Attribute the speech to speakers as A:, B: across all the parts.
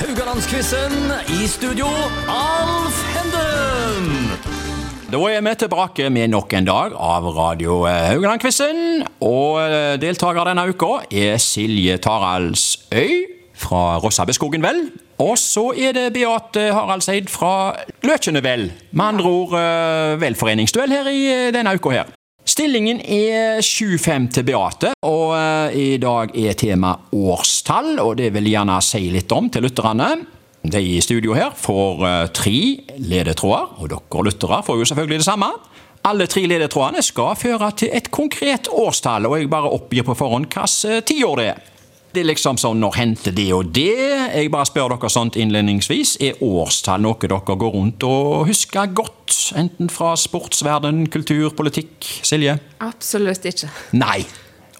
A: Rogalandsquizen. I studio, Alf Henden.
B: Da er vi tilbake med nok en dag av Radio eh, Haugaland-quizen. Og eh, deltaker denne uka er Silje Taraldsøy fra Rossabeskogen, vel. Og så er det Beate Haraldseid fra Løkjene, vel. Med andre ord eh, velforeningsduell her i eh, denne uka her. Stillingen er 7-5 til Beate, og eh, i dag er tema årstall, og det vil jeg gjerne si litt om til lytterne. De i studio her får eh, tre ledetråder, og dere lyttere får jo selvfølgelig det samme. Alle tre ledetrådene skal føre til et konkret årstall, og jeg bare oppgir på forhånd hvilket eh, tiår det er. Det er liksom sånn når hendte det og det? Jeg bare spør dere sånt innledningsvis. Er årstall noe dere går rundt og husker godt? Enten fra sportsverden, kultur, politikk? Silje?
C: Absolutt ikke.
B: Nei.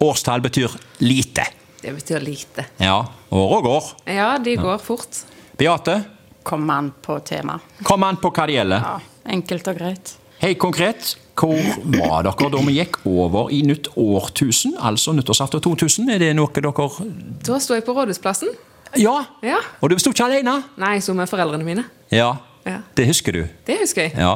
B: Årstall betyr lite.
C: Det betyr lite.
B: Ja. Åra går.
C: Ja, de går fort.
B: Beate,
D: Kom an på tema.
B: kom an på hva det gjelder.
D: Ja, enkelt og greit.
B: Hei, konkret. Hvor var dere da vi gikk over i nytt årtusen, altså nyttårsaften 2000? Er det noe dere
C: Da sto jeg på Rådhusplassen.
B: Ja!
C: Ja.
B: Og du sto ikke alene?
C: Nei, jeg sto med foreldrene mine.
B: Ja.
C: Ja.
B: Det husker du.
C: Det husker jeg.
B: Ja.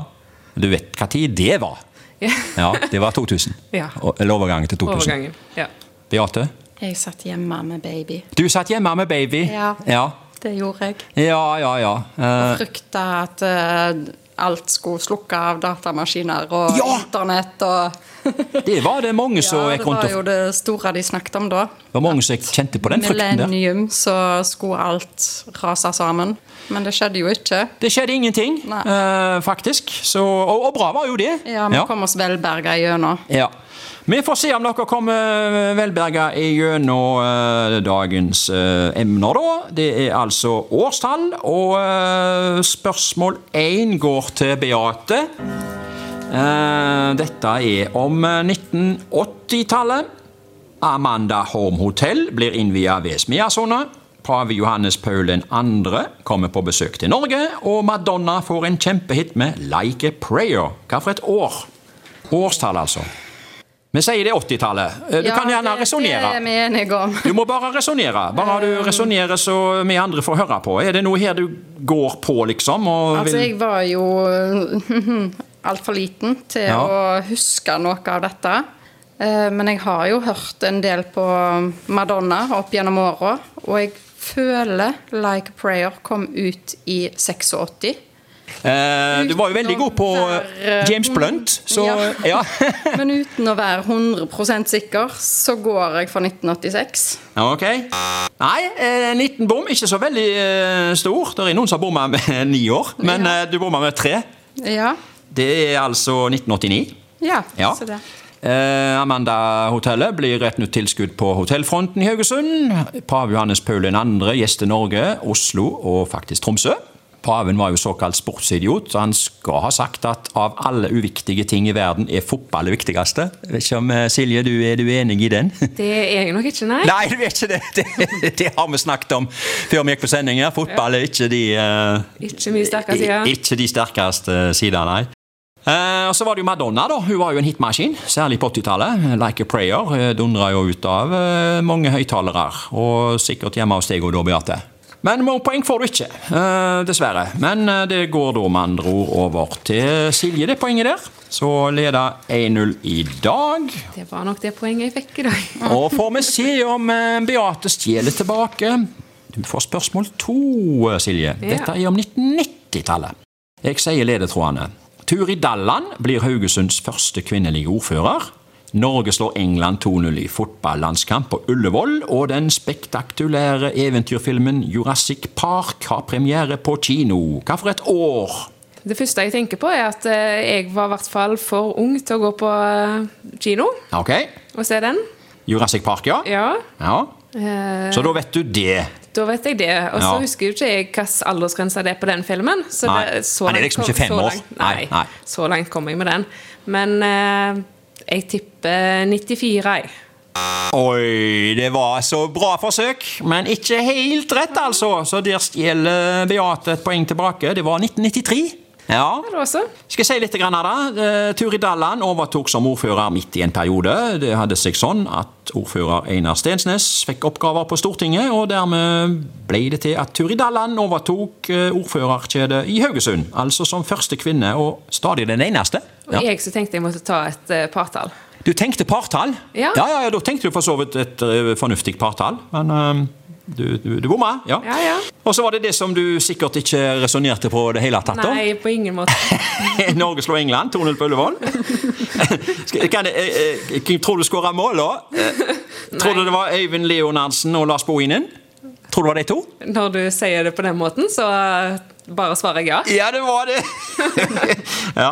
B: Du vet hva tid det var?
C: Ja.
B: Ja, det var 2000.
C: Ja.
B: Og- Eller overgangen til 2000.
C: Overgangen. Ja.
B: Beate,
D: Jeg satt hjemme med baby.
B: du satt hjemme med baby.
D: Ja.
B: Ja,
D: Det gjorde jeg.
B: ja, ja. ja. Eh,
D: Frykta at eh, alt skulle slukke av datamaskiner og
B: Ja!
D: internett og
B: det var det mange som
D: Ja,
B: gikk
D: det
B: rundt
D: var
B: og
D: jo det store de snakket om da.
B: Det var mange som kjente på den frykten der.
D: Millennium, så skulle alt rase sammen. Men det skjedde jo ikke.
B: Det skjedde ingenting,
D: Nei.
B: eh, faktisk. Så, og, og bra var jo det.
D: Ja, Vi kom oss velberga gjennom.
B: Ja. Vi får se om dere kommer eh, velberga gjennom eh, dagens eh, emner, da. Det er altså årstall, og eh, spørsmål én går til Beate. Eh, dette er om eh, 1980-tallet. Amanda Horm Hotel blir innvia ved Smiasona. Pave Johannes Paul 2. kommer på besøk til Norge. Og Madonna får en kjempehit med 'Like a Prayer'. Hva for et år? Årstall, altså. Vi sier det er 80-tallet. Eh, Du kan gjerne
D: Det er
B: resonnere.
D: vi enige om.
B: Du må bare resonnere. Bare
D: Eh.
B: du resonnerer så vi andre får høre på. Er det noe her du går på, liksom? Og
D: Altså,
B: vil
D: jeg var jo altfor liten til
B: Ja.
D: å huske noe av dette. Eh, Men jeg har jo hørt en del på Madonna opp gjennom åra. Og jeg føler Like a Prayer kom ut i 86.
B: Eh, Du var jo veldig god på eh, James Blunt, så ja.
D: Men uten å være 100 sikker, så går jeg for 1986.
B: Ok. Nei, eh, en liten bom. Ikke så veldig eh, stor. Det er noen som har bomma med ni år, men
D: Ja.
B: eh, du bomma med tre.
D: Ja.
B: Det er altså 1989.
D: Ja,
B: Ja.
D: så det.
B: Eh, Amanda-hotellet blir et nytt tilskudd på hotellfronten i Haugesund. Pave Johannes Paul 2. gjester Norge, Oslo og faktisk Tromsø. Paven var jo såkalt sportsidiot, så han skal ha sagt at av alle uviktige ting i verden er fotball det viktigste. Jeg vet ikke om eh, Silje, du er du enig i den?
C: Det er jeg nok ikke, nei.
B: Nei, du er ikke det. det. Det har vi snakket om før vi gikk på sending. her. Fotball er ikke de eh,
C: Ikke mye sterkere sider.
B: i- Ikke de sterkeste sidene, nei. Eh, og Så var det jo Madonna. da, Hun var jo en hitmaskin, særlig på 80-tallet. 'Like a Prayer' dundra jo ut av eh, mange høyttalere. Og sikkert hjemme hos deg og da, Beate. Men mange poeng får du ikke, eh, dessverre. Men eh, det går da med andre ord over til Silje, det poenget der. Så leder 1-0 i dag.
C: Det var nok det poenget jeg fikk i dag.
B: Og får vi se om eh, Beate stjeler tilbake. Du får spørsmål to, eh, Silje. Dette er om 1990-tallet. Jeg sier ledetrådene. Turi Dalland blir Haugesunds første kvinnelige ordfører. Norge slår England 2-0 i fotballandskamp på Ullevål, og den spektakulære eventyrfilmen Jurassic Park har premiere på kino. Hva for et år?
C: Det første jeg tenker på, er at eh, jeg var i hvert fall for ung til å gå på eh, kino
B: Ok,
C: og se den.
B: Jurassic Park, ja.
C: Ja.
B: ja.
C: Eh,
B: Så da vet du det.
C: Da vet jeg det. Og så
B: Ja.
C: husker jo ikke jeg hvilken aldersgrense det er på den filmen. Så
B: Nei.
C: det, så
B: Han er
C: langt
B: liksom
C: kom-
B: ikke fem
C: så
B: år.
C: langt-
B: Nei,
C: Nei,
B: nei.
C: Så langt kom jeg med den. Men eh, jeg tipper 94, jeg.
B: Oi, det var så bra forsøk, men ikke helt rett, altså. Så der stjeler Beate et poeng tilbake. Det var 1993. Ja.
C: Er det også?
B: Skal jeg si litt grann av det? Eh, Turid Dalland overtok som ordfører midt i en periode. Det hadde seg sånn at ordfører Einar Stensnes fikk oppgaver på Stortinget, og dermed ble det til at Turid Dalland overtok eh, ordførerkjedet i Haugesund. Altså som første kvinne, og stadig den eneste.
C: Og
B: Ja.
C: jeg som tenkte jeg måtte ta et eh, partall.
B: Du tenkte partall?
C: Ja.
B: ja, ja, ja, da tenkte du for så vidt et eh, fornuftig partall, men eh, du, du, du bomma. Ja.
C: Ja, ja.
B: Og så var det det som du sikkert ikke resonnerte på det hele tatt om.
C: Nei, på ingen måte.
B: Norge slår England, 2-0 på Ullevål. Skal- kan jeg- eh, eh, Hvem tror du skåra mål, da? Eh, Tror du det var Øyvind Leonardsen og Lars Bohinen? Tror du det var de to?
C: Når du sier det på den måten, så eh, bare svarer jeg ja.
B: Ja, det var det! ja.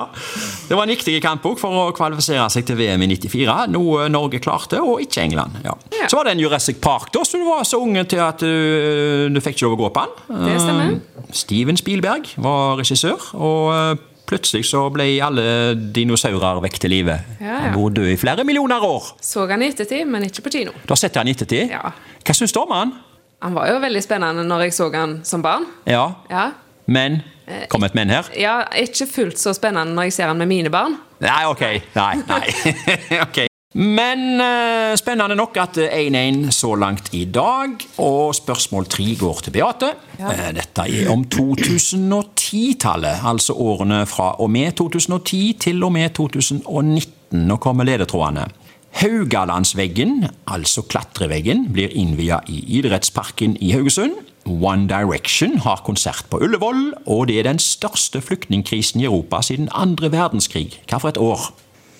B: Det var en viktig kampbok for å kvalifisere seg til VM i 94, noe Norge klarte, og ikke England. Ja.
C: Ja.
B: Så var det en Jurassic Park, da, så du var så unge til at øh, du, du fikk ikke lov å gå på den.
C: Det stemmer.
B: Eh, Steven Spielberg var regissør, og eh, plutselig så ble alle dinosaurer vekk til live.
C: Ja, ja.
B: Han bor død i flere millioner år.
C: Så han i ettertid, men ikke på kino.
B: Du har sett han i ettertid.
C: Ja.
B: Hva syns du om han?
C: Han var jo veldig spennende når jeg så han som barn.
B: Ja.
C: Ja,
B: Men
C: Eh.
B: Kom et men her?
C: ja Ikke fullt så spennende når jeg ser han med mine barn.
B: Nei, ok. Nei, nei. ok. Men eh, spennende nok at eh, 1-1 så langt i dag. Og spørsmål tre går til Beate. Eh, Dette er om 2010-tallet. Altså årene fra og med 2010 til og med 2019. Nå kommer ledetrådene. Haugalandsveggen, altså klatreveggen, blir innvia i idrettsparken i Haugesund. One Direction har konsert på Ullevål, og det er den største flyktningkrisen i Europa siden andre verdenskrig. Hva for et år?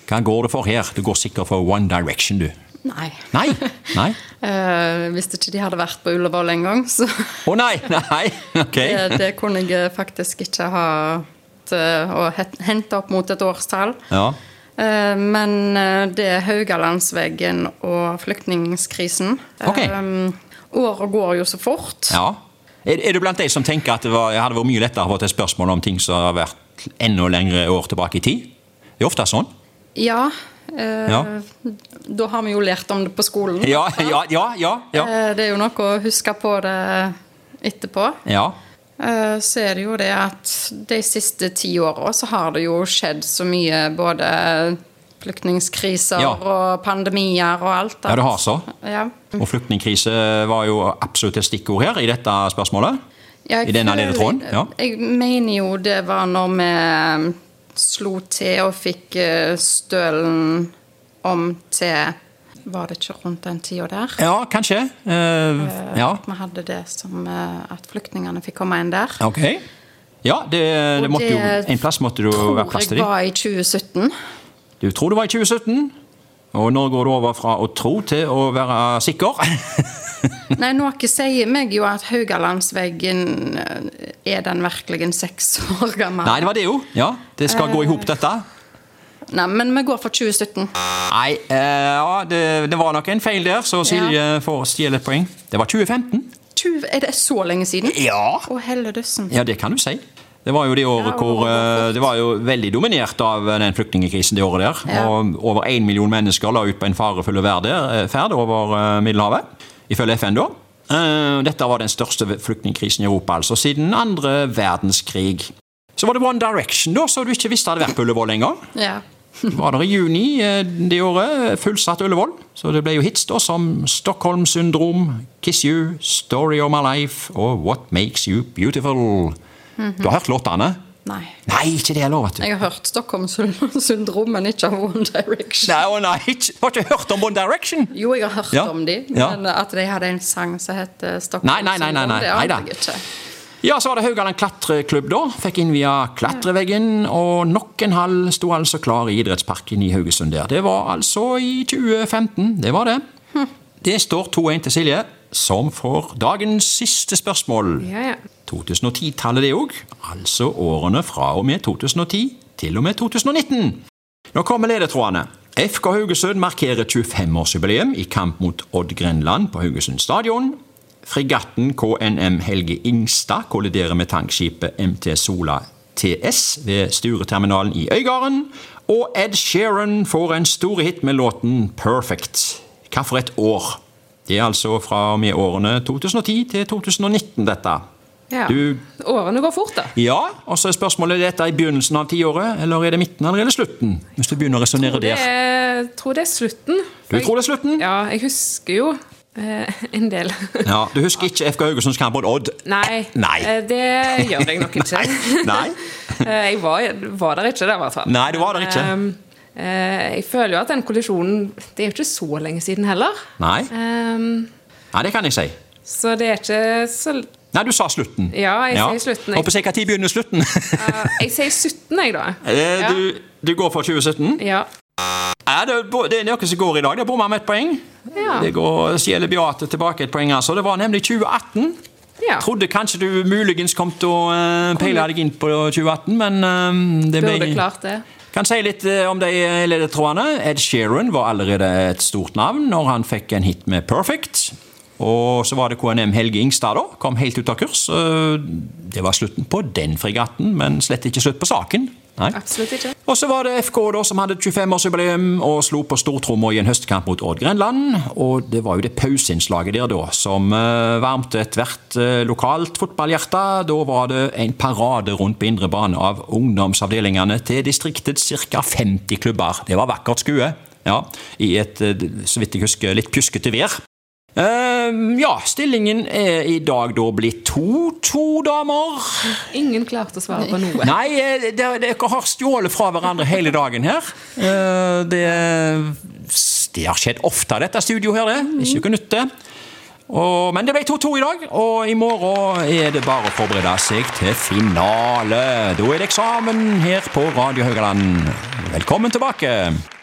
B: Hva går det for her? Du går sikkert for One Direction, du.
D: Nei.
B: Nei! Nei!
D: Eh, hvis ikke de hadde vært på Ullevål engang, så
B: Å nei! Nei! Ok.
D: det, det kunne jeg faktisk ikke ha eh, henta opp mot et årstall.
B: Ja.
D: Eh, Men eh, det er Haugalandsveggen og flyktningkrisen.
B: Ok.
D: Eh, Året går jo så fort.
B: ja. Er, er du blant de som tenker at det var, hadde vært mye lettere å få til spørsmål om ting som har vært enda lengre år tilbake i tid? Det er ofte sånn.
D: Ja, eh,
B: Ja.
D: Da har vi jo lært om det på skolen.
B: Ja, ja, ja. ja, ja.
D: Eh, Det er jo noe å huske på det etterpå.
B: Ja.
D: Eh, Så er det jo det at de siste ti åra så har det jo skjedd så mye både flyktningkriser
B: Ja.
D: og pandemier og alt.
B: Ja, det har så.
D: Ja.
B: Og flyktningkrise var jo absolutt et stikkord her i dette spørsmålet.
D: Ja, jeg
B: I denne
D: føler-
B: ledetråden, ja.
D: Jeg mener jo det var når vi um, slo til og fikk eh, stølen om til Var det ikke rundt den tida der?
B: Ja, kanskje. Eh, ja,
D: At vi hadde det som eh, at flyktningene fikk komme inn der.
B: ok. Ja, det, det
D: Og
B: måtte jo,
D: det
B: en plass måtte du
D: Tror
B: være plass til
D: jeg
B: dem.
D: var i 2017.
B: Du tror det var i 2017, og nå går du over fra å tro til å være sikker.
D: Nei, noe sier meg jo at Haugalandsveggen eh, er den virkelig seks år gammel.
B: Nei, det var det jo. Ja, det skal gå i hop, dette.
D: Nei, men vi går for 2017.
B: Nei, eh, ja, det, det var nok en feil der, så Silje får stjele et poeng. Det var 2015.
D: 20, er det så lenge siden?
B: Ja.
D: Å, helle dussen.
B: Ja, det kan du si. Det var jo det året
D: Ja,
B: hvor
D: året var
B: eh,
D: fort.
B: Det var jo veldig dominert av eh, den flyktningkrisen det året der.
D: Ja.
B: Og over én million mennesker la ut på en farefull verde- eh, ferd over eh, Middelhavet, ifølge FN da. Eh, Dette var den største flyktningkrisen i Europa, altså siden andre verdenskrig. Så var det One Direction, da, så du ikke visste hadde vært på Ullevål engang.
D: Ja.
B: Var der i juni eh, det året, fullsatt Ullevål. Så det ble jo hits da som Stockholm Syndrom, Kiss You, Story of My Life og What Makes You Beautiful.
C: Mhm.
B: Du har hørt låtene?
D: Nei.
B: Nei, ikke det heller, vet du.
D: Jeg har hørt Stockholm-syndrom, men ikke av One Direction.
B: Nei, å nei, ikke. Du har ikke hørt om One Direction?
D: Jo, jeg har hørt
B: Ja.
D: om de,
B: Ja.
D: men at de hadde en sang som het eh,
B: Nei, nei, nei, nei,
D: Stockholm-syndrom,
B: nei.
D: det
B: Neida.
D: ante jeg ikke.
B: Ja, så var det Haugaland klatreklubb, da. Fikk inn via klatreveggen. Og nok en hall sto altså klar i idrettsparken i Haugesund der. Det var altså i 2015. Det var det.
C: Hm.
B: Det står 2-1 til Silje, som får dagens siste spørsmål.
C: Ja, ja.
B: 2010-tallet det òg. Altså årene fra og med 2010 til og med 2019. Nå kommer ledetrådene. FK Haugesund markerer 25-årsjubileum i kamp mot Odd Grenland på Haugesund stadion. Fregatten KNM Helge Ingstad kolliderer med tankskipet MT Sola TS ved Stureterminalen i Øygarden. Og Ed Sheeran får en stor hit med låten 'Perfect'. Hva for et år? Det er altså fra og med årene 2010 til 2019, dette.
C: Ja.
B: Du-
C: Årene går fort, da.
B: Ja, og så er spørsmålet er dette i begynnelsen av tiåret, eller er det midten eller er det slutten? Hvis du begynner å resonnere
C: Det
B: der.
C: er, tror det er slutten.
B: Du tror det er slutten?
C: Ja, jeg husker jo eh, en del.
B: Ja, Du husker ikke FK Haugesunds kamp mot Odd?
C: Nei,
B: Nei.
C: eh, det gjør jeg nok ikke.
B: Nei, nei.
C: Eh, jeg var, var der ikke, der, i hvert fall.
B: Nei, du var der ikke.
C: Um, eh, jeg føler jo at den kollisjonen Det er jo ikke så lenge siden heller.
B: Nei.
C: Um,
B: Nei, det kan jeg si.
C: så det er ikke så
B: Nei, du sa slutten.
C: Ja, jeg sier slutten, jeg.
B: Håper jeg når begynner slutten.
C: ja, eh, Jeg sier 17, jeg, da.
B: Eh,
C: Ja.
B: du, du går for 2017?
C: Ja.
B: Ja, det, er bo- det er noe som går i dag. Det bommer med et poeng.
C: Ja.
B: Det går Sjele Beate tilbake et poeng. altså. Det var nemlig 2018.
C: Ja.
B: Trodde kanskje du muligens kom til å eh, peile deg inn på 2018, men eh, det
C: Burde
B: ble
C: klart det.
B: Kan si litt eh, om de eh, ledetrådene. Ed Sheeran var allerede et stort navn når han fikk en hit med 'Perfect'. Og så var det KNM Helge Ingstad, da. Kom helt ut av kurs. Eh, Det var slutten på den fregatten, men slett ikke slutt på saken. Nei.
C: Absolutt ikke.
B: Og så var det FK da som hadde 25-årsjubileum og slo på stortromma i en høstkamp mot Odd Grenland. Og det var jo det pauseinnslaget der da som eh, varmte ethvert eh, lokalt fotballhjerte. Da var det en parade rundt på indre bane av ungdomsavdelingene til distriktets ca. 50 klubber. Det var vakkert skue. Ja, I et, eh, så vidt jeg husker, litt pjuskete vær. Eh, ja, stillingen er i dag da blitt 2-2, damer.
C: Ingen klarte å svare på noe.
B: Nei, eh, det- dere har stjålet fra hverandre hele dagen her. Eh, Det, det har skjedd ofte, dette studioet her, det. Ikke noe nytt, det. Og, men det ble 2-2 i dag, og i morgen er det bare å forberede seg til finale. Da er det eksamen her på Radio Haugaland. Velkommen tilbake.